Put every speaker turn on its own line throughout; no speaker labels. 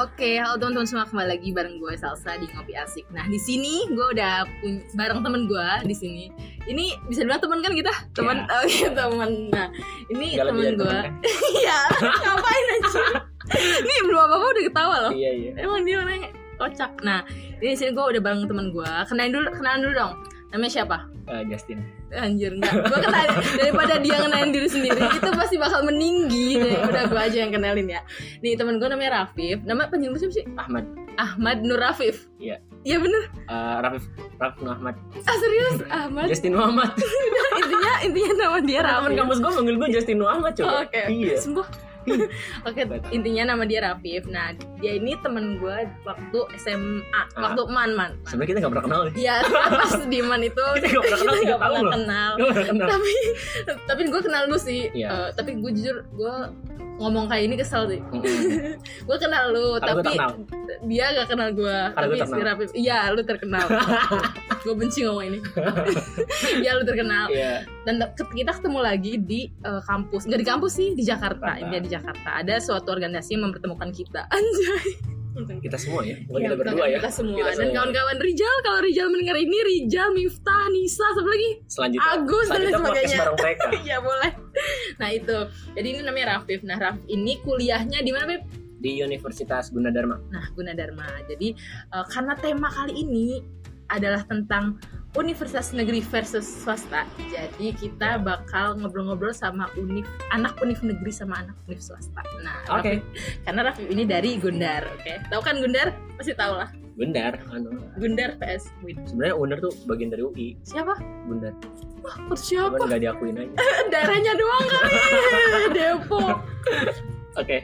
Oke, halo teman-teman semua kembali lagi bareng gue Salsa di Ngopi Asik. Nah, di sini gue udah pun- bareng temen gue di sini. Ini bisa dibilang temen kan kita? Temen, oke temen. Nah, ini
Iya. Nggak lebih
temen
dari
gue.
temen, kan?
Iya, ngapain aja? Ini belum apa-apa udah ketawa
kan?
loh.
Iya iya.
Emang dia orangnya kocak. Nah, ini di sini gue udah bareng temen gue. Kenalin dulu, kenalan dulu dong. Namanya siapa?
Eh, Justin.
Anjir enggak Gue kenalin Daripada dia kenalin diri sendiri Itu pasti bakal meninggi Udah gue aja yang kenalin ya Nih temen gue namanya Rafif Nama panjang lu siapa sih?
Ahmad.
Ahmad Nur Rafif
Iya.
Iya bener
Eh, Rafif. Rafif Ahmad.
Ah serius Ahmad
Justin Muhammad.
Intinya intinya nama dia
Teman
Rafif
kampus gue manggil gue Justin Muhammad
Oh,
coba.
Oke
Iya.
Sembuh Oke,
Batal.
intinya nama dia Rafif. Nah, dia ini temen gue waktu SMA,
Ah.
waktu man man.
Sebenarnya kita nggak pernah kenal nih.
Iya, pas di man itu
Kita nggak pernah kenal tiga
nggak
tahun
pernah
loh.
kenal.
Nggak pernah kenal.
tapi tapi gue kenal lu sih Eh,
Iya.
tapi gue jujur gue ngomong kayak ini kesel sih
Mm-mm.
gue kenal lu
Karena gue
tapi
tak kenal.
dia gak kenal gue
Karena
tapi
gua terkenal.
si Rafif iya lu terkenal gue benci ngomong ini iya lu terkenal
Iya.
dan te- kita ketemu lagi di eh, kampus nggak di kampus sih di Jakarta
Jakarta.
Ini di Jakarta ada suatu organisasi yang mempertemukan kita anjay
Kita semua ya.
Iya,
Bukan kita berdua ya.
kita semua
Kita
dan
semua.
kawan-kawan Rijal kalau Rijal mendengar ini Rijal Miftah Nisa siapa lagi
Selanjutnya.
Agus dan
selanjutnya
lain
podcast
sebagainya.
bareng mereka.
Iya boleh. Nah itu. Jadi ini namanya Rafif. Nah Rafif ini kuliahnya di mana Beb?
Di Universitas Gunadarma.
Nah Gunadarma. Jadi eh, karena tema kali ini adalah tentang Universitas Negeri versus swasta. Jadi kita bakal ngobrol-ngobrol sama univ anak univ negeri sama anak univ swasta. Nah,
Oke.
Rafif- karena Rafif ini dari Gundar, oke? Tahu kan Gundar? Pasti tahu lah.
Gundar. Anu.
Gundar PS Win.
Sebenarnya Gundar tuh bagian dari UI.
Siapa?
Gundar.
Kok
Cuman
siapa?
nggak diakuin aja.
Darahnya doang kali. Depok.
Oke.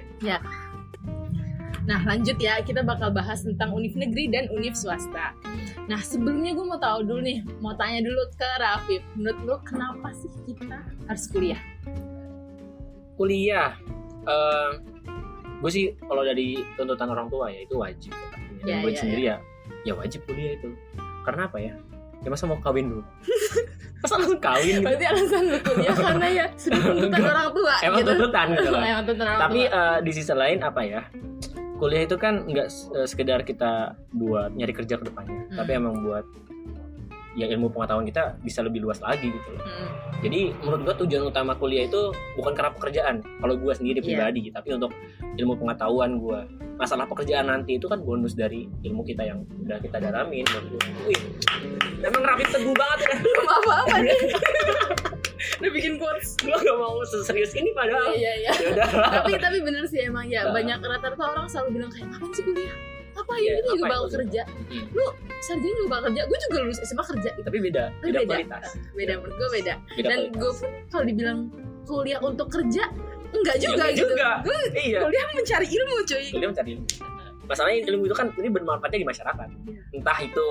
Nah lanjut ya, kita bakal bahas tentang univ negeri dan univ swasta. Nah sebelumnya gue mau tahu dulu nih, mau tanya dulu ke Rafif. Menurut lo kenapa sih kita harus kuliah?
kuliah gue sih kalau dari tuntutan orang tua ya itu wajib
Ya,
Dan gue
ya,
sendiri ya ya wajib kuliah itu karena apa ya ya masa mau kawin dulu masa langsung kawin gitu
Berarti alasan lo kuliah karena ya sudah tuntutan
Enggak.
orang tua
emang
gitu.
tuntutan gitu lah
Emang tuntutan orang
tapi
tua.
eh, di sisi lain apa ya kuliah itu kan nggak s- eh, sekedar kita buat nyari kerja ke depannya
Hmm.
tapi emang buat ya ilmu pengetahuan kita bisa lebih luas lagi gitu loh
Mm.
jadi menurut gua tujuan utama kuliah itu bukan karena pekerjaan kalau gua sendiri
Iya.
pribadi tapi untuk ilmu pengetahuan gua masalah pekerjaan nanti itu kan bonus dari ilmu kita yang udah kita dalamin menurut gua. Wih, emang rapi teguh banget ya
Belum apa-apa nih. Udah bikin quotes.
gua gak mau serius ini
Iya,
padahal
iya, iya.
ya udah
tapi tapi bener sih emang ya
Nah.
banyak rata-rata orang selalu bilang kayak ngapain sih kuliah apa ya
Iya,
itu juga
apa ya
bakal
kuliah?"
kerja
Hmm.
lu sarjana juga bakal kerja gue juga lulus SMA kerja gitu
tapi beda
Tapi
beda
beda.
kualitas
beda menurut gue beda
beda
dan
kualitas.
gue pun kalau dibilang kuliah untuk kerja enggak
Ya,
juga
enggak
gitu
juga.
gue
iya
kuliah mencari ilmu cuy
kuliah mencari ilmu masalahnya ilmu itu kan ini bermanfaatnya di masyarakat
Iya.
entah itu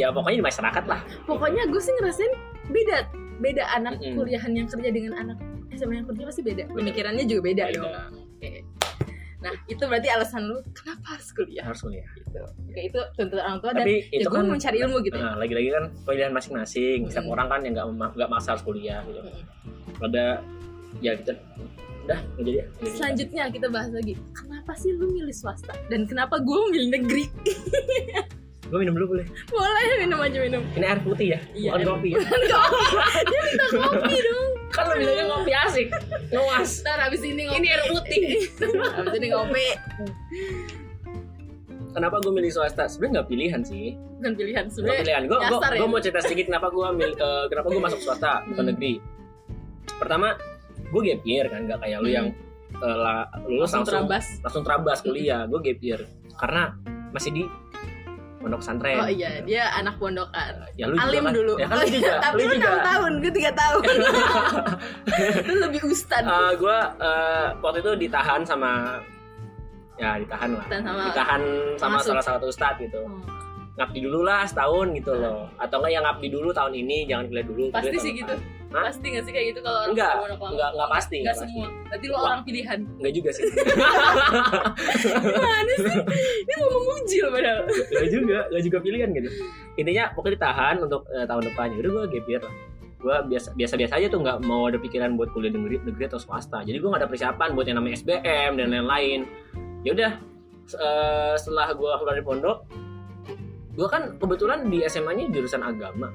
ya pokoknya di masyarakat lah
pokoknya gue sih ngerasain beda beda anak
Mm-mm.
kuliahan yang kerja dengan anak SMA yang kerja pasti beda
Beda.
pemikirannya juga beda
Beda.
dong Oke. nah itu berarti alasan lu kenapa harus
ya
kuliah
harus kuliah
gitu Oke, itu tuntutan orang tua dan
tapi
ya
itu
gue
kan
mau mencari ilmu gitu ya
Nah, lagi-lagi kan pilihan masing-masing. Setiap
Mm.
orang kan yang nggak ma- nggak maksa harus kuliah gitu.
Mm.
Ada ya kita udah gitu nggak jadi. nggak jadi.
selanjutnya kita bahas lagi kenapa sih lu milih swasta dan kenapa gue milih negeri
Gue minum dulu boleh.
boleh minum aja minum
Ini air putih ya,
Iya,
bukan
air
kopi. Ya.
dia minta kopi dong
kan lo bilangnya ngopi asik. Ngawas.
ntar abis ini ngopi
Ini air putih.
abis ini ngopi
Kenapa gue milih swasta? Sebenarnya nggak pilihan sih.
bukan pilihan
Nggak
sebenarnya
pilihan. Gue gue
Nyasar ya?
mau cerita sedikit kenapa gue milih eh, kenapa gue masuk swasta bukan
Mm.
negeri. Pertama, gue gap year kan, nggak kayak lu
Mm.
yang eh, la- lulus
langsung
langsung
terabas
langsung terabas kuliah gue gap year karena masih di pondok pesantren
oh iya dia anak pondokan
ya lu
alim
juga kan?
dulu
ya kan lu juga
tapi
lu
lu
juga
6 tahun gue 3 tahun lu lebih ustad
gue Eh, waktu itu ditahan sama ya ditahan lah
Ditahan sama-
ditahan sama
masuk.
salah satu ustadz gitu
Oh,
ngabdi dulu lah setahun gitu loh atau enggak yang ngabdi dulu tahun ini jangan kuliah dulu
Nah. pasti sih gitu pasti
kuliah tahun depan. Hah?
nggak sih kayak gitu kalau orang
Enggak,
pondok lama
enggak enggak pasti
Enggak
enggak pasti
semua berarti lu
Wah.
orang pilihan
enggak juga sih
gimana sih ini mau memuji lo padahal
Gak juga, gak juga pilihan gitu. Intinya pokoknya ditahan untuk eh, tahun depan. Udah gue gap year lah. Gue biasa biasa biasa aja tuh nggak mau ada pikiran buat kuliah negeri negeri atau swasta. Jadi gue nggak ada persiapan buat yang namanya SBM dan lain-lain. Ya udah eh, setelah gue keluar dari pondok gue kan kebetulan di SMA-nya jurusan agama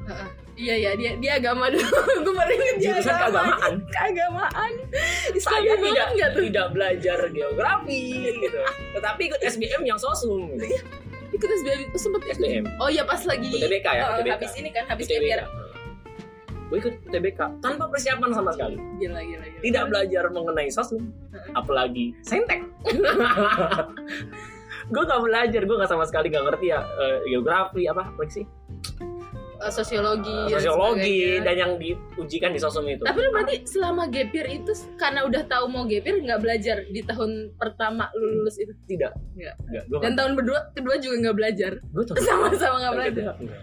Iya iya dia dia agama dulu. Gue baru inget dia
jurusan
Iya, agama.
keagamaan
Keagamaan. Islami
saya
banget
tidak
nggak tuh?
tidak belajar geografi gitu tetapi ikut SBM yang sosum gitu.
Ikut SBM itu sempet ikut.
SBM
Oh iya pas lagi.
ikut TBK ya
Oh,
TBK
habis ini kan habis
TBK.
PPR.
gue ikut TBK tanpa persiapan sama sekali
Gila gila gila.
tidak belajar mengenai sosum
Hmm.
apalagi sentek gue gak belajar gue gak sama sekali gak ngerti ya eh, geografi apa apa sih
Eh, sosiologi.
Eh,
dan
sosiologi
sebagainya.
dan yang diujikan di sosum itu
Tapi lu berarti selama gap year itu karena udah tahu mau gap year nggak belajar di tahun pertama lu lulus itu
tidak
Nggak.
gue
dan tahun berdua kedua juga nggak belajar
gue tuh
sama-sama nggak
Enggak,
belajar.
enggak.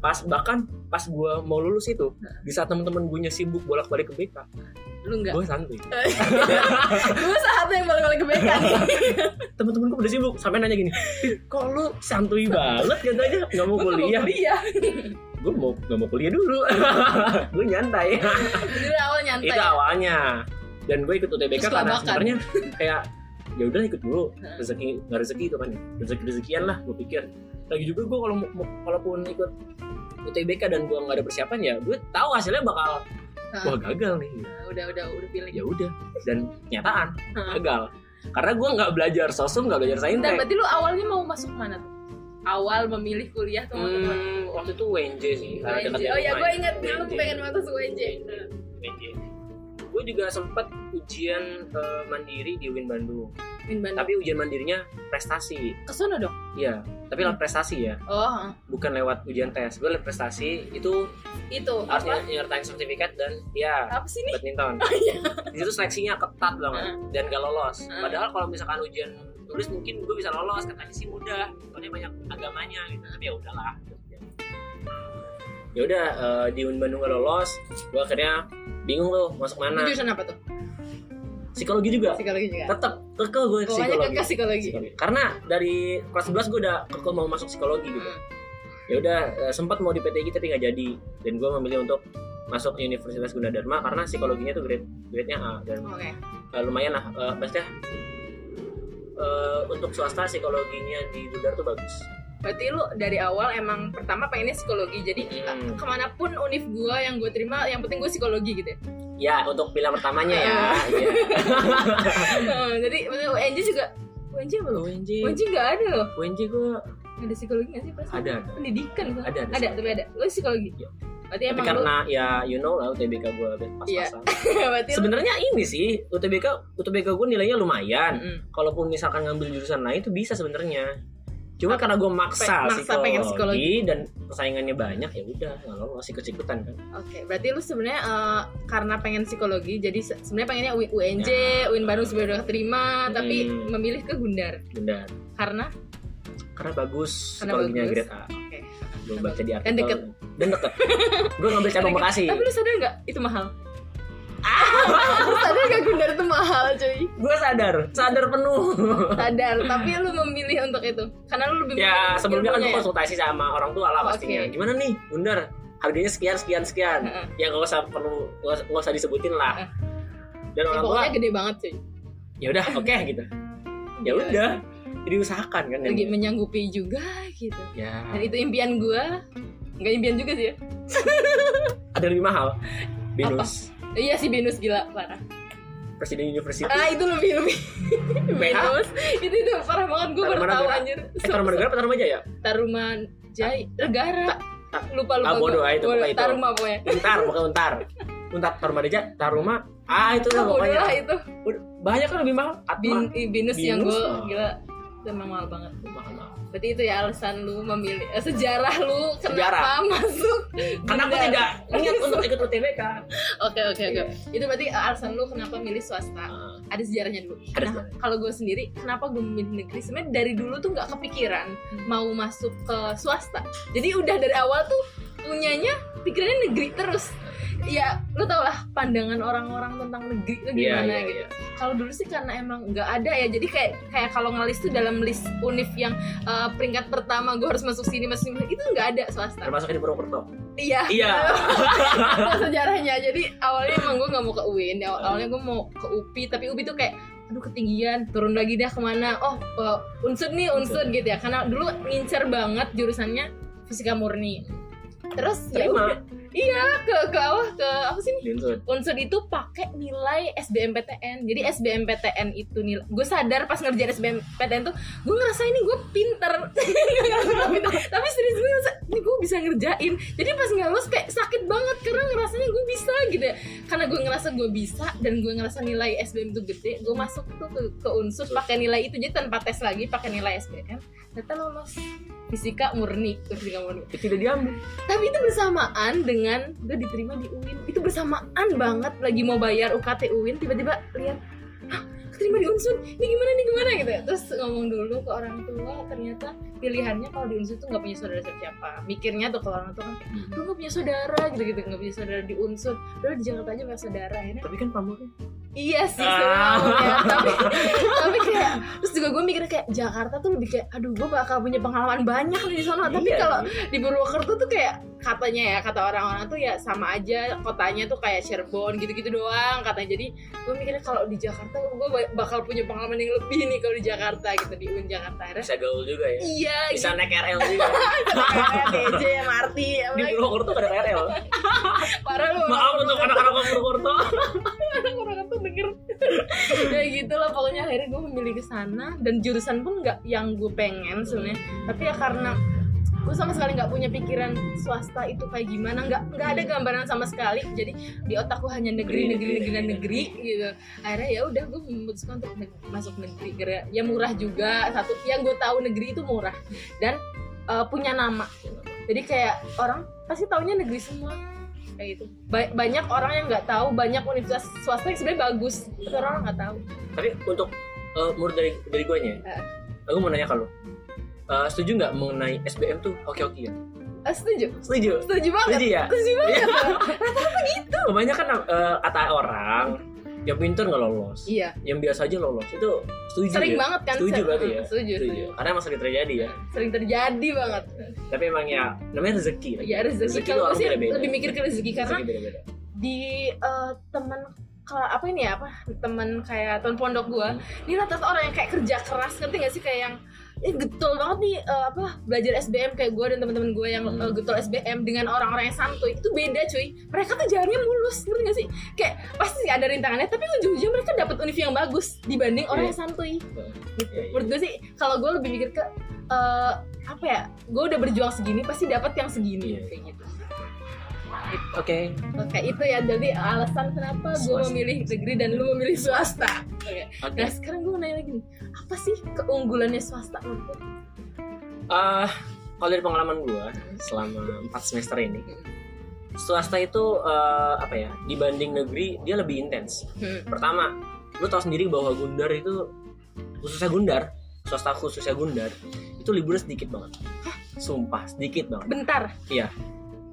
pas bahkan pas gue mau lulus itu di saat temen-temen gue sibuk bolak-balik ke BK
Lu Hmm. nggak.
gue santuy
Gue saatnya yang balik-balik ke BK nih.
temen-temen gue udah sibuk sampai nanya gini "Ih, kok lu santuy banget katanya nggak mau
Gua nggak mau
kuliah
Kuliah.
gue mau nggak mau kuliah dulu gue nyantai
Jadi awal nyantai.
itu awalnya dan gue ikut UTBK
ya? Terus
karena
kelabakan.
sebenarnya kayak ya udah ikut dulu
Heeh.
rezeki nggak rezeki itu kan ya. rezeki rezekian lah gue pikir lagi juga gue kalau mau- mau- kalaupun ikut UTBK dan gue nggak ada persiapan ya gue tahu hasilnya bakal
Heeh.
wah gagal nih
Nah, udah udah udah pilih.
ya udah dan nyataan
Heeh.
gagal karena gue nggak belajar sosum nggak belajar
Bentar,
saintek
berarti lu awalnya mau masuk mana tuh? Awal memilih kuliah tuh mau ke mana?
Hmm, waktu itu WNJ sih karena
UNJ.
dekatnya
Oh ya,
rumah.
gue ingat dulu
WNJ.
pengen masuk UNJ.
WNJ gue juga sempat ujian eh, mandiri di UIN Bandung
Min Bandung.
tapi ujian mandirinya prestasi
Ke sono dong.
iya tapi lewat prestasi ya
Oh,
bukan lewat ujian tes gue lewat prestasi itu
itu
harus
apa?
nyertain sertifikat dan ya
Apa sih ini?
badminton
Oh, iya. Ah.
di situ seleksinya ketat banget dan gak lolos
Heeh.
padahal kalau misalkan ujian tulis mungkin gue bisa lolos katanya sih mudah soalnya banyak agamanya gitu tapi ya udahlah ya udah eh, di UIN Bandung gak lolos gue akhirnya bingung tuh
Itu
masuk mana
jurusan apa tuh?
psikologi juga
Psikologi juga. Oh,
tetap kekeh gue
Pokoknya
psikologi
ke psikologi.
Psikologi. karena dari kelas 11 gue udah kekeh mau masuk psikologi gitu
Hmm.
ya udah eh, sempat mau di PTI tapi nggak jadi dan gue memilih untuk masuk Universitas Gunadarma karena psikologinya tuh grade grade-nya A dan
Oke.
eh, lumayan lah eh, maksudnya eh, untuk swasta psikologinya di Gudar tuh bagus
Berarti lu dari awal emang pertama pengennya psikologi. Jadi
Hmm.
Mm-hmm. kemanapun univ gue yang gue terima, yang penting gue psikologi gitu ya.
ya untuk pilihan pertamanya ya Iya.
Eh, Jadi UNJ juga UNJ apa lu?
UNJ
UNJ nggak ada loh.
UNJ gue
Nggak Ada psikologi nggak sih pas?
ada
Pendidikan kan?
ada ada,
Ada, tapi ada. Lu psikologi.
Iya.
Berarti
tapi
emang lu Iya.
karena ya you know lah UTBK gue pas-pasan
berarti lu-
sebenarnya ini sih UTBK UTBK gue nilainya lumayan
Mm-mm.
kalaupun misalkan ngambil jurusan lain itu bisa sebenarnya cuma karena gue
Pe-
maksa,
maksa pengen
psikologi dan persaingannya banyak ya udah nggak lolos ikut-ikutan kan
Oke, berarti lu sebenarnya eh, karena pengen psikologi, jadi se- sebenarnya pengennya U- UNJ, UIN Bandung sebenarnya udah terima,
Iya. Hmm.
tapi memilih ke Gundar
benar
karena
karena bagus
Karena
psikologinya
bagus.
grade A
oke.
gue baca di artikel
deket.
dan deket gue ngambil cabang Bekasi
Tapi lu sadar nggak itu mahal? lu sadar nggak Gundar itu mahal, cuy?
gue sadar sadar penuh
Sadar, tapi lu memilih untuk itu karena lu lebih
ya
memilih
sebelumnya kan
ilmunya
gue
ya?
konsultasi sama orang tua lah
Oh,
pastinya
oke.
gimana nih bundar harganya sekian sekian sekian
Heeh.
ya gak usah perlu nggak usah- nggak usah disebutin lah dan
Ya,
orang tua
pokoknya Iya. gede banget cuy.
ya udah oke gitu ya
Gila.
udah jadi usahakan kan
Lagi
yang-
menyanggupi juga gitu.
ya
Dan itu impian gua. Enggak impian juga sih ya.
ada lebih mahal Binus
Iya sih Venus gila parah.
Presiden University
Ah itu lebih lebih Venus. itu itu parah banget gue baru
Tarumana
tahu
Negara.
anjir.
eh Taruman Negara apa Taruman Jaya
Taruman Jai
Ta-
Negara.
ta-
Lupa lupa.
Ah,
gua.
bodoh, ah, itu,
Bodoh,
pokoknya itu.
Taruma pokoknya.
Untar bukan Untar Untar Taruman Jaya Taruma ah itu
Ah,
lah
bodoh
pokoknya
lah itu.
Udah, banyak kan lebih mahal
Bin,
Atma
Venus yang gue
Venus, ah.
gila itu emang mahal banget.
mahal mahal.
Berarti itu ya alasan lu memilih eh, sejarah lu
Sejarah.
kenapa masuk.
karena aku
Bunda.
tidak niat untuk ikut UTBK
Oke oke oke.
Iya.
Itu berarti eh, alasan lu kenapa milih swasta.
Ah,
ada sejarahnya dulu.
Ada
Nah,
sejarahnya.
kalau gue sendiri, kenapa gue memilih negeri? Sebenarnya dari dulu tuh nggak kepikiran
Hmm.
mau masuk ke swasta. Jadi udah dari awal tuh punyanya pikirannya negeri terus. Ya, lu tau lah pandangan orang-orang tentang negeri itu
iya
gimana
iya
gitu.
iya
Kalau dulu sih karena emang nggak ada ya. Jadi kayak kayak kalau ngelis tuh dalam list univ yang eh, peringkat pertama gue harus masuk sini, masuk sini itu nggak ada swasta.
termasuk di Purwokerto
Iya.
iya
ya, Ada sejarahnya jadi awalnya emang gue nggak mau ke UIN aw- awalnya gue mau ke UPI tapi UPI tuh kayak aduh ketinggian turun lagi dah kemana oh eh, unsur nih unsur gitu ya karena dulu ngincer banget jurusannya fisika murni terus ya udah.
terima
iya ke ke awal ke apa sih nih?
iya. Diuntut.
unsur itu pakai nilai SBMPTN jadi SBMPTN itu nilai gue sadar pas ngerjain SBMPTN tuh gue ngerasa ini gue pinter Nggak ngerasa pinter. tapi serius gue ngerasa ini gue bisa ngerjain jadi pas nggak lulus kayak sakit banget karena ngerasanya gue bisa gitu ya karena gue ngerasa gue bisa dan gue ngerasa nilai SBM itu gede gue masuk tuh ke, ke unsur pakai nilai itu jadi tanpa tes lagi pakai nilai SBM ternyata lolos fisika murni tuh fisika murni
itu tidak diambil
tapi itu bersamaan dengan gue diterima di UIN itu bersamaan banget lagi mau bayar UKT UIN tiba-tiba lihat "Hah, keterima di Unsun ini gimana ini gimana gitu terus ngomong dulu ke orang tua ternyata pilihannya kalau di Unsun tuh nggak punya saudara siapa mikirnya tuh kalau orang tua kan kayak, lu nggak punya saudara gitu gitu nggak punya saudara di Unsun lu di Jakarta aja punya saudara akhirnya
tapi kan pamuknya
Iya sih
Ah.
sebenarnya tapi, tapi kayak terus juga gue mikirnya kayak Jakarta tuh lebih kayak aduh gue bakal punya pengalaman banyak nih di sana tapi
Iya,
kalau
iya.
di Purwokerto tuh kayak katanya ya kata orang-orang tuh ya sama aja kotanya tuh kayak Cirebon gitu-gitu doang katanya jadi gue mikirnya kalau di Jakarta gue ba- bakal punya pengalaman yang lebih nih kalau di Jakarta gitu di UIN Jakarta Akhirnya,
bisa gaul juga ya
iya gitu
bisa naik RL juga
kayak TJ MRT apa
di Purwokerto gak ada KRL
parah lu orang
maaf untuk
Purwokerto.
anak-anak Purwokerto
orang tuh denger ya gitu lah pokoknya akhirnya gue memilih ke sana dan jurusan pun nggak yang gue pengen sebenarnya tapi ya karena gue sama sekali nggak punya pikiran swasta itu kayak gimana nggak nggak ada gambaran sama sekali jadi di otak gue hanya negeri negeri negeri dan negeri gitu akhirnya ya udah gue memutuskan untuk neg- masuk negeri karena ya murah juga satu yang gue tahu negeri itu murah dan eh, punya nama jadi kayak orang pasti taunya negeri semua kayak gitu Ba- banyak orang yang nggak tahu banyak universitas swasta yang sebenarnya bagus tapi orang nggak tahu
tapi untuk eh, menurut dari dari gue nya
Heeh.
aku mau nanya kalau eh, setuju nggak mengenai SBM tuh oke oke ya
Eh, setuju
setuju
setuju banget
setuju ya
setuju banget
kebanyakan eh, kata orang yang pinter nggak lolos
iya
yang biasa aja lolos itu setuju
sering
ya?
banget kan
Setuju
Ser-
berarti ya?
setuju,
Setuju.
setuju.
karena emang sering terjadi ya
sering terjadi banget
tapi emang ya namanya rezeki lah.
ya rezeki
tuh
kalau gue
orang
sih
beda-beda.
lebih mikir ke rezeki karena Iya,
Rezeki beda-beda.
di eh, teman kalau apa ini ya apa teman kayak teman pondok gua
Hmm.
ini rata-rata orang yang kayak kerja keras ngerti gak sih kayak yang ini getol banget nih eh, apa belajar SBM kayak gua dan teman-teman gua yang
Hmm.
eh, getol SBM dengan orang-orang yang santuy itu beda cuy mereka tuh jalannya mulus ngerti gak sih kayak pasti ada rintangannya tapi ujung-ujungnya mereka dapat univ yang bagus dibanding orang
Iya.
yang santuy gitu.
Iya, iya.
Menurut gue sih kalau gue lebih mikir ke eh, apa ya? Gue udah berjuang segini pasti dapat yang segini
Iya.
kayak gitu.
oke
Oke, itu ya jadi alasan kenapa gue
Swasta.
memilih negeri dan lu memilih swasta. Oke.
oke
Nah, sekarang gue mau nanya lagi nih. Apa sih keunggulannya swasta menurut lu?
Eh, kalau dari pengalaman gue selama 4 semester ini
Hmm.
swasta itu eh, apa ya dibanding negeri dia lebih intens pertama lu tahu sendiri bahwa Gundar itu khususnya Gundar swasta khususnya Gundar itu liburnya sedikit banget sumpah sedikit banget
Bentar.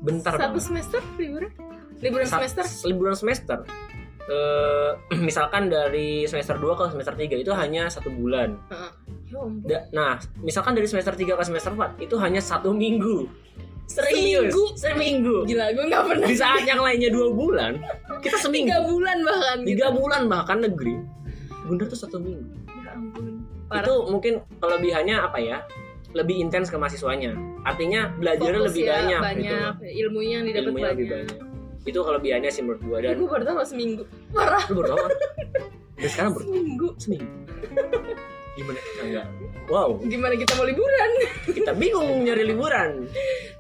bentar
Satu
banget
semester liburan? Liburan
Sa-
semester?
liburan semester Eh, misalkan dari semester 2 ke semester 3 itu hanya satu bulan
Ya ampun.
Da- nah misalkan dari semester 3 ke semester 4 itu hanya satu minggu serius
Seminggu?
seminggu
Gila, gue gak pernah.
di saat yang lainnya dua bulan kita
Tiga
seminggu
bulan bahkan. gitu.
tiga bulan bahkan negeri Gundar tuh satu minggu
Ya ampun.
itu mungkin kelebihannya apa ya lebih intens ke mahasiswanya artinya belajarnya
Fokus
lebih
ya,
banyak,
banyak. Ilmunya yang
gitu
didapat
ilmunya lebih
banyak.
banyak itu kelebihannya sih menurut gua dan
gue baru tahu seminggu. Parah
lu baru tahu kan? dan sekarang baru
seminggu.
seminggu gimana enggak wow
Gimana kita mau liburan?
kita bingung nyari liburan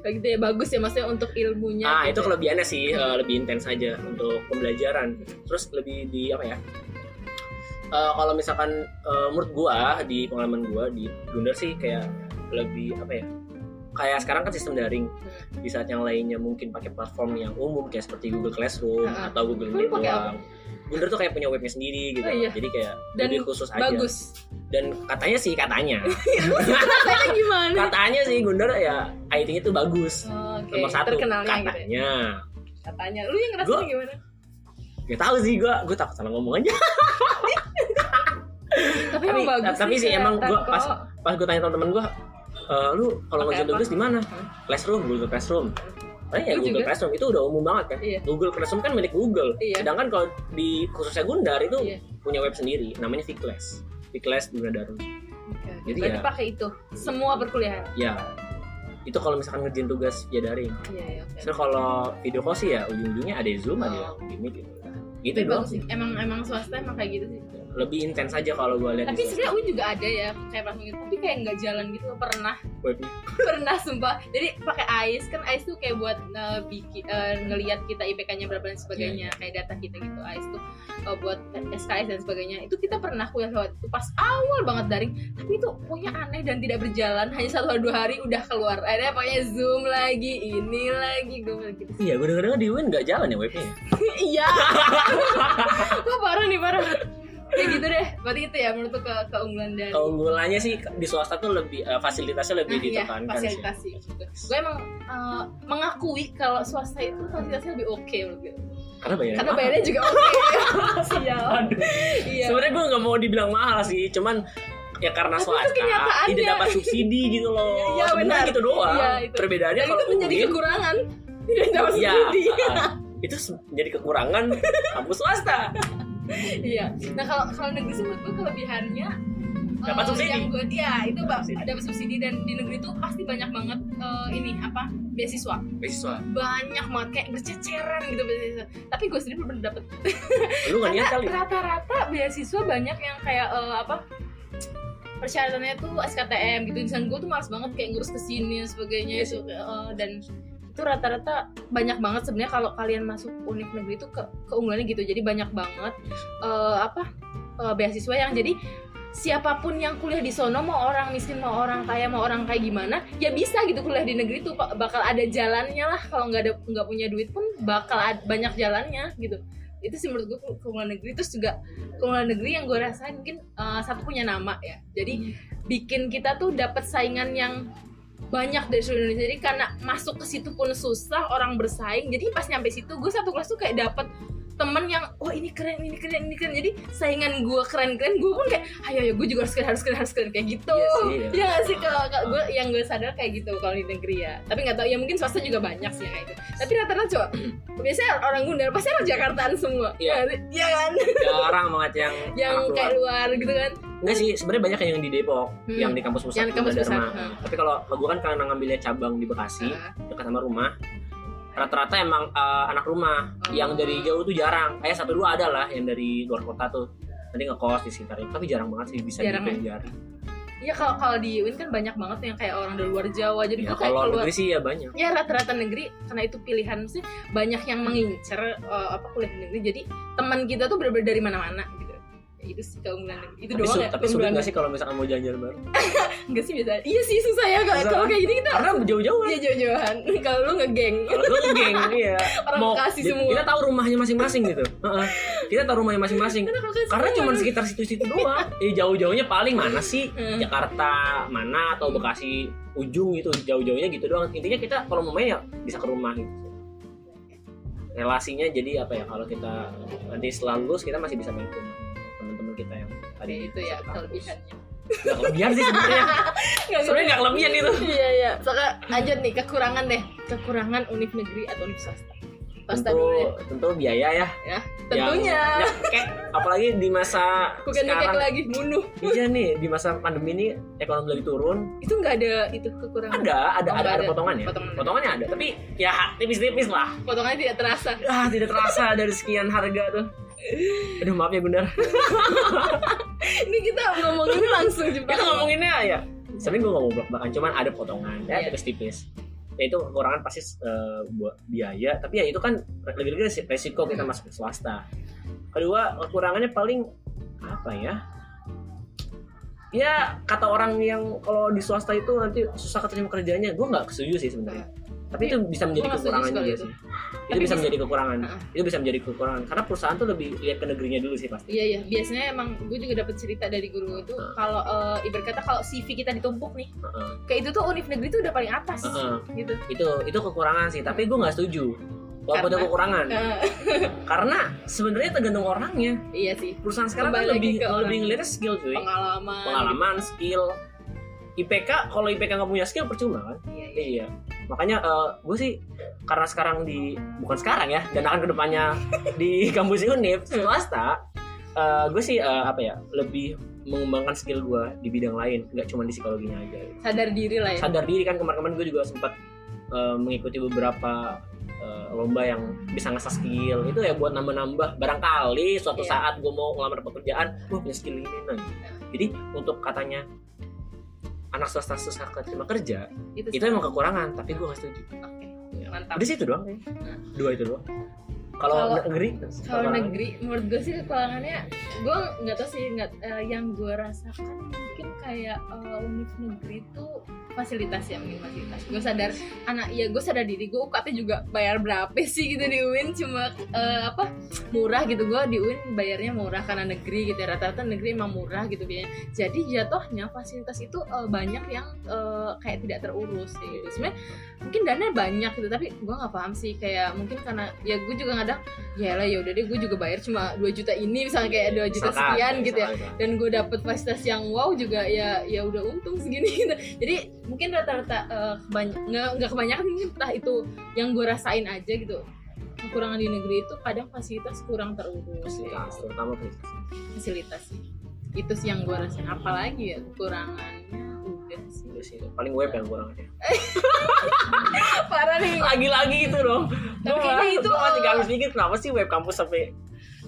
Kayak gitu ya bagus ya maksudnya untuk ilmunya.
ah
gitu
itu
ya.
kelebihannya sih eh, lebih intens aja untuk pembelajaran
Hmm.
terus lebih di apa ya Eh, kalau misalkan eh, menurut gua di pengalaman gua di Gundar sih kayak lebih apa ya kayak sekarang kan sistem daring
Hmm.
di saat yang lainnya mungkin pakai platform yang umum kayak seperti Google Classroom
Ah.
atau Google
Lu
Meet
pakai apa?
doang Gundar tuh kayak punya webnya sendiri gitu
Oh, iya.
jadi kayak
Dan
lebih khusus aja
bagus.
dan katanya sih katanya
Rasanya gimana?
katanya sih Gundar ya IT-nya tuh bagus
Oh, Oke,
nomor satu
terkenalnya gitu. ya.
katanya
Katanya, lu yang ngerasa
Gua-
gimana?
Gak tahu sih gue, gue takut salah ngomong aja.
Tapi,
Tapi-
emang bagus.
tapi sih emang
kelihatan
gua
kok. Iya.
pas- Pas gue tanya teman-teman gue, lu
Pakai
kalau ngerjain
apa?
tugas di mana?
Hmm.
Classroom, Google Classroom. Tanya ya
Lu
Google
juga?
Classroom itu udah umum banget kan.
Iya.
Google Classroom kan milik Google.
Iya.
Sedangkan kalau di khususnya Gundar itu
Iya.
punya web sendiri namanya Viclass Viclass Bunda Darul
Oke.
Jadi
Berarti
ya-
pakai itu semua perkuliahan.
ya itu kalau misalkan ngerjain tugas via daring
Iya, iya, oke.
so kalau video call sih ya ujung-ujungnya ada zoom ada
Oh.
gini gitu
Tapi
gitu doang
bagus
sih
sih. Emang emang swasta emang kayak gitu sih.
lebih intens aja kalau gue lihat
Tapi
di
sebenarnya UIN juga ada ya kayak langsung gitu. Tapi kayak nggak jalan gitu pernah
webnya
pernah sumpah. Jadi pakai AIS kan AIS tuh kayak buat eh, bikin eh, ngelihat kita IPK-nya berapa dan sebagainya kayak data kita gitu. AIS tuh eh, buat SKS dan sebagainya. Itu kita pernah kuliah lewat itu pas awal banget daring. Tapi itu pokoknya aneh dan tidak berjalan. Hanya satu atau dua hari udah keluar. Akhirnya pokoknya zoom lagi, ini lagi gue bilang gitu.
iya gue denger denger di Win nggak jalan ya webnya ya?
Iya. Wah parah nih parah. Ya gitu deh. Berarti itu ya menurut lu ke keunggulan dari
keunggulannya sih di swasta tuh lebih eh, fasilitasnya lebih
Nah, iya,
ditekankan sih
fasilitasi juga. Gue emang eh, mengakui kalau swasta itu fasilitasnya lebih oke menurut gue.
karena bayarnya
Karena
mahal.
bayarnya juga oke. Sial.
Aduh.
Iya.
sebenarnya gue nggak mau dibilang mahal sih cuman ya karena
Tapi itu
swasta
kenyataannya.
tidak dapat subsidi gitu loh
Iya, iya,
Sebenarnya
benar.
gitu doang
Iya, itu.
perbedaannya
Dan
kalau
itu menjadi
UIN,
kekurangan. Tidak dapat
ya,
subsidi.
ah, itu se- jadi kekurangan kampus swasta
Iya. Nah kalau kalau negeri sih menurut gue kelebihannya eh,
Dapat subsidi.
Yang gue, ya, itu
Dapat
bak-
subsidi.
dapat subsidi dan di negeri itu pasti banyak banget eh, ini apa beasiswa.
beasiswa
banyak banget kayak berceceran gitu beasiswa. tapi gue sendiri belum dapet
lu nggak niat
karena
kali
rata-rata beasiswa banyak yang kayak eh, apa persyaratannya tuh SKTM gitu dan gue tuh males banget kayak ngurus ke sini dan sebagainya
Iya
itu eh, dan itu rata-rata banyak banget sebenarnya kalau kalian masuk univ negeri itu ke keunggulannya gitu jadi banyak banget eh, apa eh, beasiswa yang jadi siapapun yang kuliah di sono mau orang miskin mau orang kaya mau orang kayak gimana ya bisa gitu kuliah di negeri tuh Pak. bakal ada jalannya lah kalau nggak ada nggak punya duit pun bakal ad- banyak jalannya gitu itu sih menurut gue ke- keunggulan negeri terus juga keunggulan negeri yang gue rasain mungkin eh, satu punya nama ya
Hmm.
jadi bikin kita tuh dapat saingan yang banyak dari seluruh Indonesia jadi karena masuk ke situ pun susah orang bersaing jadi pas nyampe situ gue satu kelas tuh kayak dapet temen yang oh ini keren ini keren ini keren jadi saingan gue keren keren gue pun kayak ayo ya gue juga harus keren harus keren harus keren kayak gitu
Iya sih, iya.
ya nggak sih kalau kalau gue yang gue sadar kayak gitu kalau di negeri ya tapi nggak tahu ya mungkin swasta juga banyak sih yang kayak gitu tapi rata-rata cowok biasanya orang Gundar pasti orang Jakartaan semua
Iya.
Nggak sih? iya kan
jarang banget yang
yang
anak luar.
kayak luar gitu kan
Enggak sih, sebenarnya banyak yang di Depok,
Hmm.
yang di kampus pusat.
Yang di kampus
Bunda Dharma.
pusat, hmm.
Tapi kalau kalau gue kan karena ngambilnya cabang di Bekasi,
Ah.
dekat sama rumah. Rata-rata emang eh, anak rumah
Oh.
yang dari jauh tuh jarang. Kayak satu dua ada lah yang dari luar kota tuh. Nanti ngekos di sekitarnya, tapi jarang banget sih bisa
Jarang
dihitung jari.
ya kalau kalau di UIN kan banyak banget yang kayak orang dari luar Jawa jadi
Ya,
gue kayak
kalau
keluar
negeri sih ya banyak.
ya rata-rata negeri karena itu pilihan sih banyak yang mengincar eh, apa kuliah di negeri jadi teman kita tuh bener-bener dari mana-mana gitu Ya, itu sih keunggulan negeri itu
Tapi,
doang
su-
ya
tapi sulit
keunggulan
nggak sih kalau misalkan mau jalan-jalan bareng?
enggak sih biasa iya sih susah ya kalau
Susah. kan?
kalau kayak gini kita
Karena jauh-jauh kan.
Iya jauh-jauhan kalau lu ngegeng
Kalau lu tuh geng, iya.
Orang Bekasi
di-
semua.
Kita tahu rumahnya masing-masing gitu. Heeh. kita tahu rumahnya masing-masing.
karena kalau kayak
Karena
semua
cuma
orang-
sekitar situ-situ doang. Eh jauh-jauhnya paling mana sih?
Hmm.
Jakarta mana atau Bekasi ujung gitu jauh-jauhnya gitu doang. Intinya kita kalau mau main ya bisa ke rumah gitu. Relasinya jadi apa ya kalau kita nanti setelah lulus kita masih bisa main ke rumah teman-teman kita yang tadi
Ya, itu ya
satu kampus.
kelebihannya
Nggak kelebihan sih sebenarnya. sebenarnya nggak kelebihan itu.
gitu. iya iya soalnya lanjut nih kekurangan deh kekurangan univ negeri atau univ swasta swasta
Tentu
dulu deh
tentu biaya ya.
ya
yang
tentunya
nyekek. apalagi di masa
bukan
sekarang.
ngekek lagi bunuh
Iya nih di masa pandemi ini ekonomi lagi turun.
itu nggak ada itu kekurangan
Ada ada
Oh,
ada,
nggak
ada
ada.
potongannya.
Potongan.
Potongannya ada tapi ya tipis-tipis lah.
potongannya tidak terasa
ah tidak terasa dari sekian harga tuh aduh maaf ya bunda
ini kita ngomongin langsung jebak
kita ngomonginnya ya sebenarnya gue nggak mau blok bahkan cuman ada potongan ya
Iya.
tipis-tipis ya itu kekurangan pasti eh, buat biaya tapi ya itu kan lebih-lebih resi- resiko kita
Iya.
masuk ke swasta kedua kekurangannya paling apa ya ya kata orang yang kalau di swasta itu nanti susah keterima kerjanya gue nggak setuju sih sebenarnya tapi itu bisa
Iya. Gua nggak
menjadi
setuju
kekurangan
sekali
juga
itu.
sih
Tapi
itu bisa
bisa-
menjadi kekurangan
Heeh.
itu bisa menjadi kekurangan karena perusahaan tuh lebih lihat ke negerinya dulu sih pasti
Iya iya, biasanya emang gue juga dapat cerita dari guru itu
Heeh.
kalau eh, ibarat kata kalau CV kita ditumpuk nih,
Heeh.
kayak itu tuh univ negeri tuh udah paling atas
Heeh.
gitu.
itu itu kekurangan sih tapi gue nggak setuju walaupun ada
Karena?
kekurangan
Eh,
karena sebenarnya tergantung orangnya
iya sih,
perusahaan sekarang kan
Kembali lagi
lebih
ke orang.
lebih ngeliatnya skill cuy
pengalaman.
pengalaman skill IPK kalau IPK nggak punya skill percuma kan
Iya, iya.
iya makanya gue sih karena sekarang di bukan sekarang ya dan akan kedepannya di kampus Unif swasta eh, gue sih eh, apa ya lebih mengembangkan skill gue di bidang lain nggak cuma di psikologinya aja
sadar diri lah ya
sadar diri kan kemarin-kemarin gue juga sempat eh, mengikuti beberapa eh, lomba yang bisa ngasah skill itu ya buat nambah-nambah barangkali suatu
Iya.
saat gue mau ngelamar pekerjaan gue punya skill ini nah jadi untuk katanya anak swasta susah keterima kerja
itu,
itu emang kekurangan tapi gue nggak setuju
Oke,
Ya.
mantap
udah sih itu doang kayaknya. dua itu doang kalau
Kalau-
negeri
kalau
apa?
negeri menurut gue sih kekurangannya gue nggak tahu sih nggak eh, yang gue rasakan mungkin kayak eh, univ negeri itu fasilitas ya mungkin fasilitas gue sadar anak ya gue sadar diri gue UKT juga bayar berapa sih gitu di UIN cuma eh, apa murah gitu gue di UIN bayarnya murah karena negeri gitu ya. rata-rata negeri emang murah gitu biasanya jadi jatuhnya fasilitas itu eh, banyak yang eh, kayak tidak terurus kayak gitu sebenarnya mungkin dana banyak gitu tapi gue nggak paham sih kayak mungkin karena ya gue juga kadang ya lah ya udah deh gue juga bayar cuma 2 juta ini misalnya kayak 2 juta
Misalkan,
sekian gitu ya
misalkan.
dan gue dapet fasilitas yang wow juga ya ya udah untung segini gitu jadi mungkin rata-rata eh, kebany- nggak nggak kebanyakan mungkin entah itu yang gue rasain aja gitu kekurangan di negeri itu kadang fasilitas kurang terurus ya.
Fasilitas, terutama fasilitas.
fasilitas sih itu sih yang gue rasain apalagi ya kekurangannya udah sih
Itu sih, paling web yang kurang aja
parah nih
lagi-lagi itu dong
Tapi kayaknya itu,
gue masih
eh,
gak habis mikir kenapa sih web kampus sampai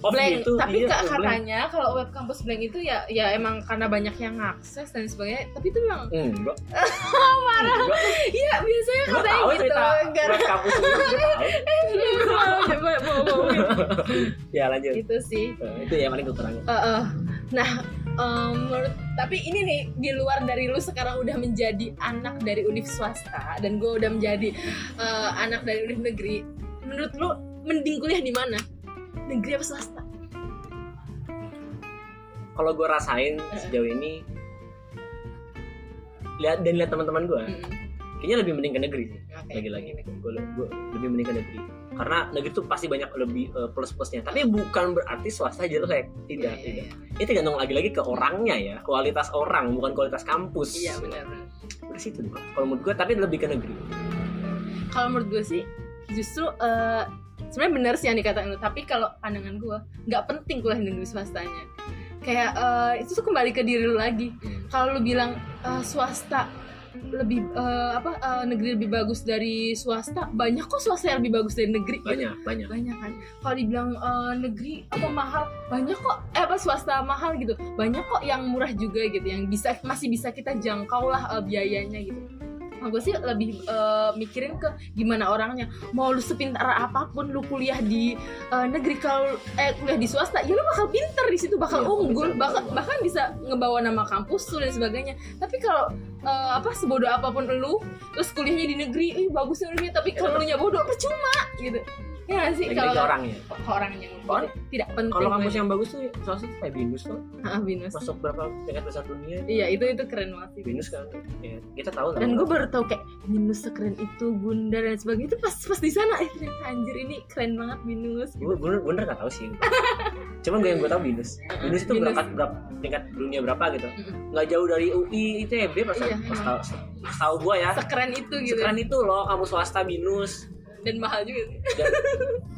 off
blank
gitu
tapi
Iya,
kak
blank.
katanya kalau web kampus blank itu ya ya emang karena banyak yang akses dan sebagainya tapi itu memang
enggak
parah iya biasanya
gue
katanya
tahu
gitu
cerita
gara
web kampus itu gua tahu.
Iya,
ya lanjut
itu Gitu sih
Eh, itu ya paling kekurangan
Eh, eh. nah em, menurut tapi ini nih di luar dari lu sekarang udah menjadi anak dari univ swasta dan gue udah menjadi eh, anak dari univ negeri menurut lu mending kuliah di mana negeri apa swasta
kalau gue rasain sejauh ini lihat dan lihat teman-teman gue
Mm,
kayaknya lebih mending ke negeri sih
oke.
Hmm, lagi-lagi gue lebih mending ke negeri karena negeri tuh pasti banyak lebih eh, plus-plusnya tapi bukan berarti swasta jelek tidak
Iya,
tidak
iya,
ini tergantung lagi-lagi ke orangnya ya kualitas orang bukan kualitas kampus
iya benar benar.
dari situ Bang. kalau menurut gue tapi lebih ke negeri
kalau menurut gue sih justru eh, sebenarnya benar sih yang dikatakan lu tapi kalau pandangan gue nggak penting kuliah di negeri swastanya kayak eh, itu tuh kembali ke diri lu lagi kalau lu bilang eh, swasta lebih eh, apa eh, negeri lebih bagus dari swasta banyak kok swasta yang lebih bagus dari negeri gitu.
banyak banyak
banyak kan kalau dibilang eh, negeri apa mahal banyak kok eh apa swasta mahal gitu banyak kok yang murah juga gitu yang bisa masih bisa kita jangkau lah eh, biayanya gitu Nah, gue sih lebih eh, mikirin ke gimana orangnya mau lu sepintar apapun lu kuliah di eh, negeri kalau eh kuliah di swasta ya lu bakal pinter di situ bakal
Iya,
unggul
betul.
bahkan bahkan bisa ngebawa nama kampus lu dan sebagainya tapi kalau eh, apa sebodoh apapun lu terus kuliahnya di negeri ih bagusnya negeri
Ya,
tapi kalau lu nya bodoh percuma gitu ya nggak sih
lagi-lagi
kalau
orangnya
ke orang yang
Kon-
tidak penting
kalau kampus yang bagus tuh swasta tuh kayak binus tuh
Ah, Binus.
masuk berapa tingkat besar dunia
iya itu itu keren banget sih
binus kan ya, kita tahu lah
dan gue baru tahu kayak Binus sekeren itu Bunda dan sebagainya itu pas pas di sana eh ternyata anjir ini keren banget Binus
gue bener bener nggak tahu sih cuman gue yang gue tahu binus binus itu
Binus.
berangkat berapa tingkat dunia berapa gitu
Mm.
nggak jauh dari UI ITB E pas
Iya,
pas
emang.
tahu pas tahu gue ya
sekeren itu gitu
sekeren itu loh kamu swasta binus
dan mahal juga
dan,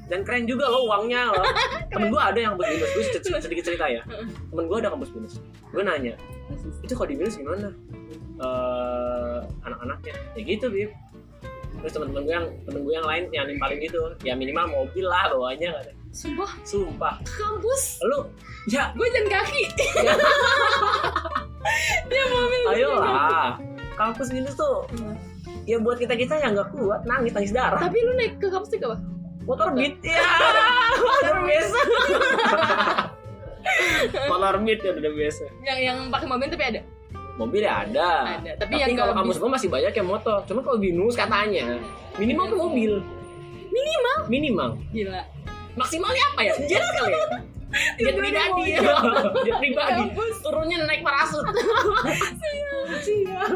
dan keren juga loh uangnya loh temen gue ada yang kampus binus gue sedikit, sedikit cerita ya temen gue ada kampus binus gue nanya itu kalau di binus gimana Eh, anak-anaknya ya gitu bib terus temen-temen gue yang temen gue yang lain yang paling gitu ya minimal mobil lah bawahnya kata.
sumpah
sumpah
ke kampus
lu ya
gue jalan kaki
Ya.
dia mau ambil
ayolah kampus binus tuh ya buat kita kita yang nggak kuat nangis nangis darah
tapi lu naik ke kampus naik apa
motor beat ya motor biasa motor beat ya udah biasa
yang yang pakai mobil tapi ada
mobil ya ada
Ada, tapi yang
kalau
nggak
kampus
bis-
gue masih banyak yang motor cuma kalau binus katanya minimal tuh mobil minimal minimal
gila
maksimalnya apa ya senjata kali ya Jet
Turun dari
pribadi, jet
Ya
pribadi. Turunnya naik parasut.
ya.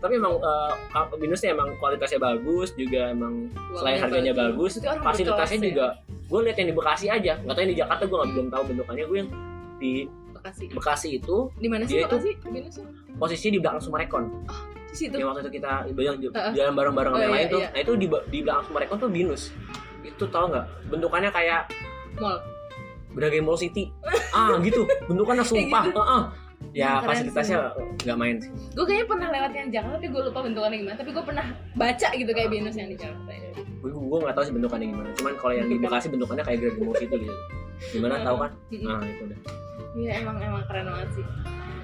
Tapi emang eh, kamp- binusnya emang kualitasnya bagus, juga emang selain
Uangnya
harganya
bagus.
bagus,
Itu orang
fasilitasnya
berkelas ya.
juga. Gue lihat yang di Bekasi aja, nggak tahu yang di Jakarta gue nggak belum tahu bentukannya. Gue yang di
makasih
Bekasi itu
di mana sih
Dia itu-
makasih Binus tuh?
posisinya di belakang Sumarekon.
di situ
yang Iya, waktu itu kita yang ju-
Heeh.
jalan bareng-bareng
Oh,
sama yang
iya,
lain tuh
iya.
nah itu di, ba- di belakang mereka tuh binus itu tau nggak bentukannya kayak
mall
Braga Mall City ah gitu bentukannya sumpah
Gitu.
Heeh. ya
Keren
fasilitasnya nggak main sih
gue kayaknya pernah lewat yang Jakarta tapi gue lupa bentukannya gimana tapi gue pernah baca gitu kayak Venus yang di Jakarta
gue gue nggak tahu sih bentukannya gimana cuman kalau yang di Bekasi bentukannya kayak Braga Mall City gitu gimana tahu kan
Mm-mm.
nah itu udah
Iya emang emang keren banget sih.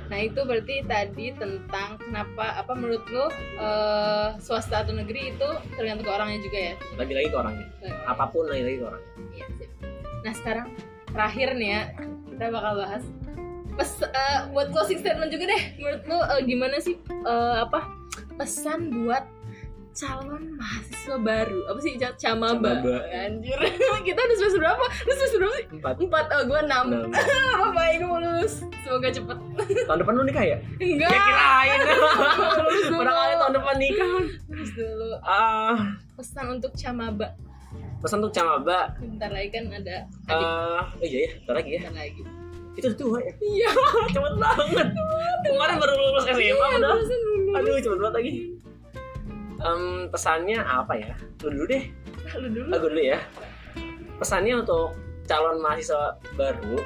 Nah itu berarti tadi tentang kenapa apa menurut lo eh, swasta atau negeri itu tergantung ke orangnya juga ya.
lagi-lagi ke orangnya apapun lagi-lagi ke orangnya
Iya sip. Nah sekarang terakhir nih ya kita bakal bahas pes eh, buat closing statement juga deh. Menurut lo eh, gimana sih eh, apa pesan buat calon mahasiswa baru apa sih ca- camaba
Camaba.
anjir kita udah semester berapa udah semester berapa sih
empat
empat oh gue enam
enam
apa baik gue mau lulus semoga cepet
tahun depan lu nikah ya
enggak
ya kirain
Lulus dulu.
barangkali tahun depan nikah
Terus dulu
ah
pesan untuk camaba.
pesan untuk camaba
Bentar lagi kan ada adik
eh oh iya ya bentar lagi ya
bentar lagi.
itu udah tua ya
Iya,
cepet banget kemarin baru lulus SMA udah
lulusan dulu.
Iya, aduh cepet banget lagi Em, pesannya apa ya lu dulu deh
Lu dulu.
aku dulu ya pesannya untuk calon mahasiswa baru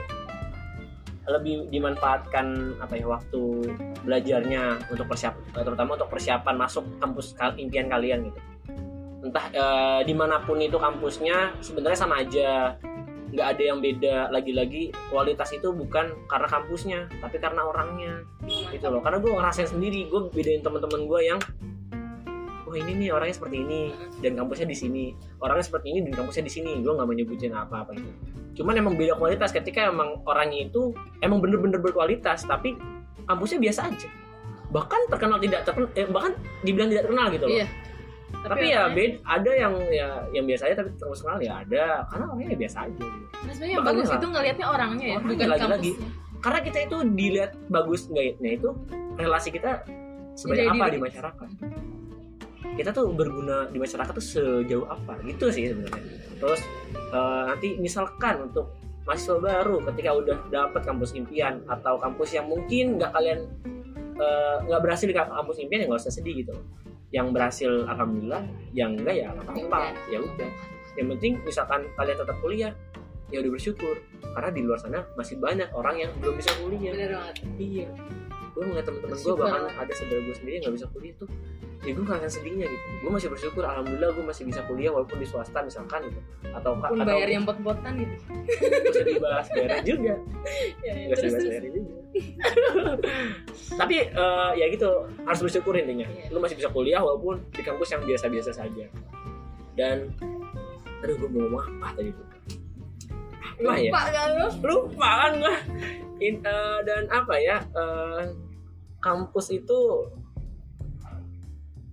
lebih dimanfaatkan apa ya waktu belajarnya untuk persiap terutama untuk persiapan masuk kampus kal- impian kalian gitu entah eh, dimanapun itu kampusnya sebenarnya sama aja nggak ada yang beda lagi-lagi kualitas itu bukan karena kampusnya tapi karena orangnya gitu loh karena gue ngerasain sendiri gue bedain teman-teman gue yang oh ini nih orangnya seperti ini dan kampusnya di sini orangnya seperti ini dan kampusnya di sini gue nggak mau nyebutin apa apa gitu cuman emang beda kualitas ketika emang orangnya itu emang bener-bener berkualitas tapi kampusnya biasa aja bahkan terkenal tidak terkenal eh, bahkan dibilang tidak terkenal gitu loh
Iya.
tapi, ya beda ada yang ya yang biasa aja tapi terkenal ya ada karena orangnya biasa aja gitu.
Nah, sebenarnya yang
Makanya
bagus
lah.
itu ngelihatnya orangnya ya,
Orangnya
bukan
lagi-lagi. Iya.
kampusnya.
karena kita itu dilihat bagus enggaknya itu relasi kita sebanyak
Jadi
apa
diri.
di masyarakat kita tuh berguna di masyarakat tuh sejauh apa gitu sih sebenarnya terus eh, nanti misalkan untuk mahasiswa baru ketika udah dapet kampus impian atau kampus yang mungkin nggak kalian eh, nggak berhasil di kampus impian ya nggak usah sedih gitu yang berhasil alhamdulillah yang enggak ya nggak apa-apa ya udah yang penting misalkan kalian tetap kuliah ya udah bersyukur karena di luar sana masih banyak orang yang belum bisa kuliah
Bener banget.
iya gue ngeliat temen-temen gue
Bersyukur
bahkan
lah.
ada saudara gue sendiri yang nggak bisa kuliah tuh ya gue ngerasain sedihnya gitu gue masih bersyukur alhamdulillah gue masih bisa kuliah walaupun di swasta misalkan gitu atau
Pun
atau
bayar yang pot-potan gitu.
Iya, bisa dibahas bayaran juga
Ya, ya.
nggak usah
Terus
dibahas
terus.
bayaran juga tapi eh, ya gitu harus bersyukur intinya
Iya.
lu masih bisa kuliah walaupun di kampus yang biasa-biasa saja dan aduh gue mau ngomong apa tadi tuh apa ya
Lupa kan lu?
lupa kan gua. In- eh, dan apa ya eh, kampus itu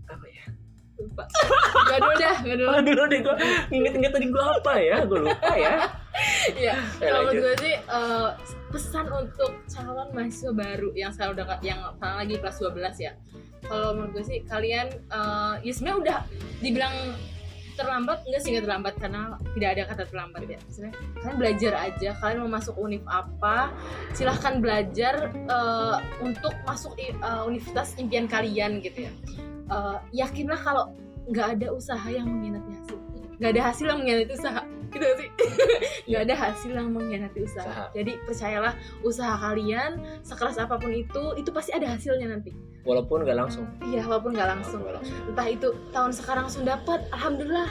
apa ya
Lupa. Gak dulu dah, gak dulu.
Aduh, dulu deh gue inget-inget tadi gue apa ya gue lupa ya
Iya.
Eh,
Kalau
lanjut.
gue sih eh, pesan untuk calon mahasiswa baru yang sekarang udah yang sekarang lagi kelas 12 ya. Kalau menurut gue sih kalian eh, ya sebenarnya udah dibilang terlambat enggak sih enggak terlambat karena tidak ada kata terlambat ya. Sebenarnya kalian belajar aja, kalian mau masuk univ apa, silahkan belajar eh, untuk masuk i- eh, universitas impian kalian gitu ya. Eh, yakinlah kalau nggak ada usaha yang mengkhianati hasil. Nggak ada hasil yang mengkhianati usaha. Gitu nggak sih. Nggak ada hasil yang mengkhianati usaha.
Usaha.
Jadi percayalah usaha kalian sekeras apapun itu, itu pasti ada hasilnya nanti.
walaupun gak langsung
Iya, walaupun nggak langsung.
Walaupun nggak langsung.
Entah itu tahun sekarang langsung dapat, alhamdulillah.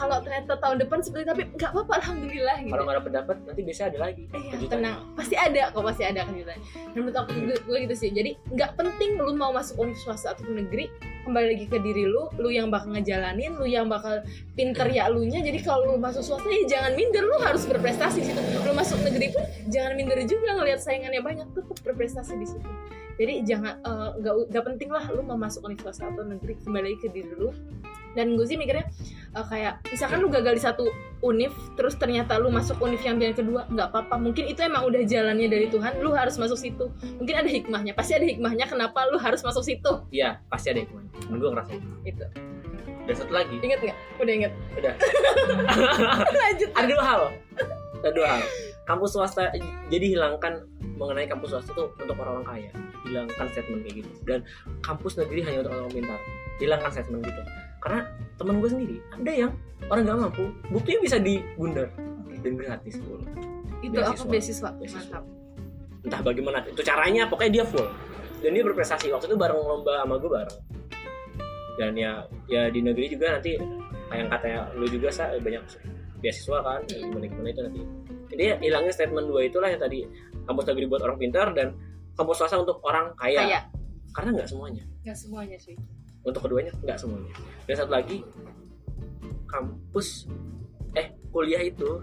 Kalau ternyata tahun depan seperti tapi nggak apa-apa, alhamdulillah. Gitu.
kalau gak ada pendapat nanti biasanya ada lagi
Iya,
kejutan.
tenang. Pasti ada kok, pasti ada kejutan. Dan menurut aku gue, gue gitu sih. Jadi nggak penting lu mau masuk univ swasta ataupun negeri, kembali lagi ke diri lu, lu yang bakal ngejalanin, lu yang bakal pinter ya lu nya. Jadi kalau lu masuk swasta ya jangan minder, lu harus berprestasi di situ. Lu masuk negeri pun jangan minder juga ngelihat saingannya banyak, tetap berprestasi di situ. Jadi jangan eh, nggak nggak penting lah lu mau masuk univ swasta atau negeri, kembali lagi ke diri lu. Dan gue sih mikirnya eh, kayak misalkan lu gagal di satu univ terus ternyata lu masuk univ yang pilihan kedua nggak apa-apa mungkin itu emang udah jalannya dari Tuhan lu harus masuk situ mungkin ada hikmahnya pasti ada hikmahnya kenapa lu harus masuk situ
iya pasti ada yang temen gue ngerasain
gitu
dan satu lagi
inget nggak udah inget
Udah.
lanjut
ada dua hal ada dua hal kampus swasta jadi hilangkan mengenai kampus swasta itu untuk orang-orang kaya hilangkan statement kayak gitu dan kampus negeri hanya untuk orang pintar hilangkan statement gitu karena teman gue sendiri ada yang orang gak mampu buktinya bisa digundar dan gratis pula
itu aku
Beasiswa.
beasiswa
Beasiswa.
mantap
entah bagaimana itu caranya pokoknya dia full dan dia berprestasi waktu itu bareng lomba sama gue bareng dan ya ya di negeri juga nanti kayak yang katanya lu juga sa eh, banyak beasiswa kan
Iya.
gimana gimana itu nanti jadi ya, hilangnya statement dua itulah yang tadi kampus negeri buat orang pintar dan kampus swasta untuk orang kaya,
kayak
karena nggak semuanya
nggak semuanya sih
untuk keduanya nggak semuanya dan satu lagi kampus eh kuliah itu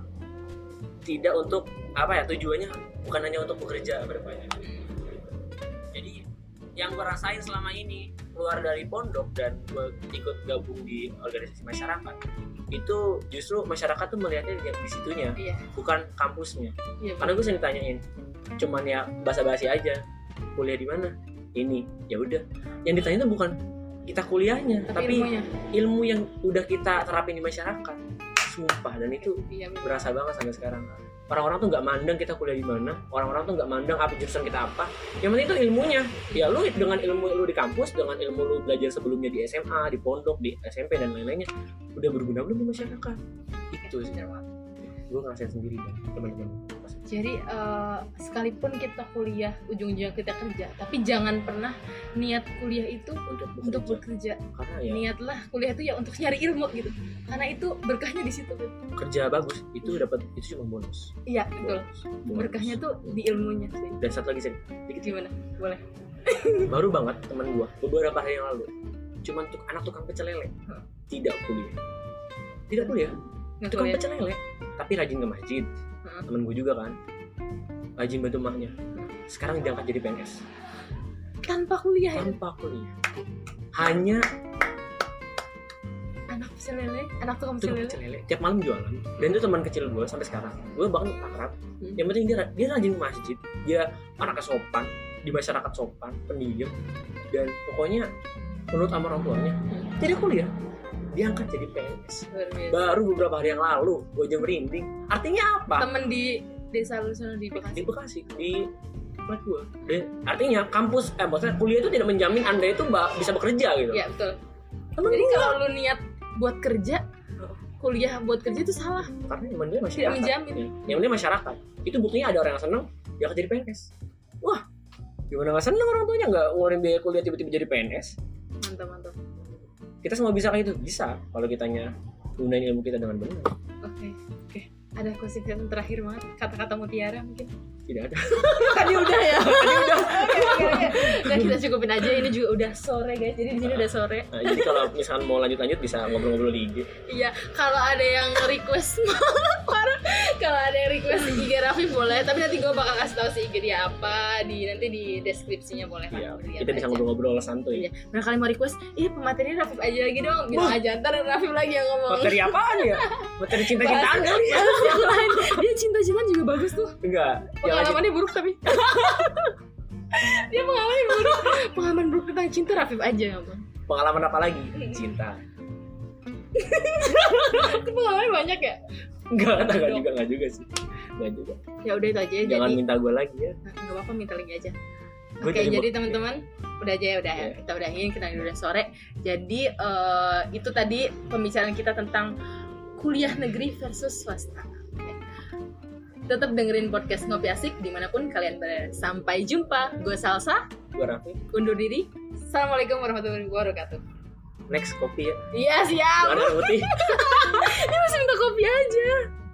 tidak untuk apa ya tujuannya bukan hanya untuk bekerja berbanyak jadi yang gue rasain selama ini keluar dari pondok dan gue ikut gabung di organisasi masyarakat itu justru masyarakat tuh melihatnya di, di situnya
iya
bukan kampusnya
iya
karena gue sering ditanyain cuman ya basa-basi aja kuliah di mana ini ya udah yang ditanya itu bukan kita kuliahnya tapi,
ilmunya
ilmu yang udah kita terapin di masyarakat sumpah dan itu
iya bener.
berasa banget sampai sekarang orang-orang tuh nggak mandang kita kuliah di mana orang-orang tuh nggak mandang apa jurusan kita apa yang penting itu ilmunya ya lu dengan ilmu lu di kampus dengan ilmu lu belajar sebelumnya di SMA di pondok di SMP dan lain-lainnya udah berguna belum di masyarakat itu sih
Bener banget.
gue ngerasain sendiri dan teman-teman
jadi eh, sekalipun kita kuliah ujung-ujungnya kita kerja tapi jangan pernah niat kuliah itu
untuk
untuk
bekerja
bekerja
karena ya
niatlah kuliah itu ya untuk nyari ilmu gitu karena itu berkahnya di situ Beb.
kerja bagus itu dapat itu cuma bonus.
iya betul
Bonus, bonus.
Iya.
Hmm.
berkahnya tuh di ilmunya sih
dan satu lagi sih dikit
gimana boleh
baru banget teman gua beberapa hari yang lalu cuman tuh anak tukang pecel lele
Hah.
tidak kuliah tidak kuliah
nggak
tukang
kuliah
pecel lele tapi rajin ke masjid
Hah.
temen gua juga kan rajin bantu emaknya sekarang diangkat jadi PNS
tanpa kuliah ya
tanpa kuliah hanya
anak pecel lele anak tukang pecel
tukang
lele
pecel lele tiap malam jualan dan itu teman kecil gua sampai sekarang gua bahkan akrab
Hmm.
yang penting dia dia rajin ke masjid dia anaknya sopan di masyarakat sopan pendiam dan pokoknya menurut sama orang tuanya
Hmm.
tidak kuliah diangkat jadi PNS
luar biasa
baru beberapa hari yang lalu gue aja merinding artinya apa
temen di desa lu sana di
di
Bekasi
Bekasi di tempat gue Dan artinya kampus eh maksudnya kuliah itu tidak menjamin anda itu ba- bisa bekerja gitu
iya betul
Temen
jadi
gua-
kalau lu niat buat kerja kuliah buat kerja itu salah
karena yang dia
tidak
masyarakat
menjamin
Ya, yang dia masyarakat itu buktinya ada orang yang seneng dia akan jadi PNS wah gimana nggak seneng orang tuanya nggak ngeluarin biaya kuliah tiba-tiba jadi PNS
mantap mantap
kita semua bisa kayak itu bisa kalau kitanya gunain ilmu kita dengan benar
oke oke ada question terakhir banget kata-kata mutiara mungkin
tidak ada
Tadi udah ya. Oke, oke, oke. Udah kita cukupin aja. Ini juga udah sore guys. Jadi di sini udah sore.
Nah, jadi kalau misalkan mau lanjut-lanjut bisa ngobrol-ngobrol di IG
Iya. Kalau ada yang request, parah. kalau ada yang request IG Raffi boleh. Tapi nanti gue bakal kasih tahu si IG dia apa. Di nanti di deskripsinya boleh.
Iya,
Kan? Lihat
kita bisa
aja.
ngobrol-ngobrol santuy
Iya. Nah kalian mau request, iya pemateri Rafif aja lagi dong. Bilang aja ntar Rafif lagi yang ngomong.
Materi apaan ya? Materi cinta-cintaan
Bahas-
kali ya?
bahas yang lain. Dia cinta-cintaan juga bagus tuh.
Enggak. Yang lagi-
pengalamannya buruk tapi dia pengalaman buruk pengalaman buruk tentang cinta Rafif aja ya bang
pengalaman apa lagi? Cinta.
itu pengalaman banyak ya
Enggak, enggak juga, enggak juga sih. Enggak juga.
ya udah itu aja ya,
Jangan
jadi
minta gue lagi ya.
Nah, nggak apa-apa minta lagi aja
Gua
oke
jadi-
jadi teman-teman udah aja ya udah ya
Iya.
kita udahin kita udah sore jadi eh, itu tadi pembicaraan kita tentang kuliah negeri versus swasta Oke. tetap dengerin podcast ngopi asik dimanapun kalian berada sampai jumpa gue salsa
Gue Raffi.
undur diri assalamualaikum warahmatullahi wabarakatuh
Next kopi ya.
Iya siap.
Warna putih.
Dia masih minta kopi aja.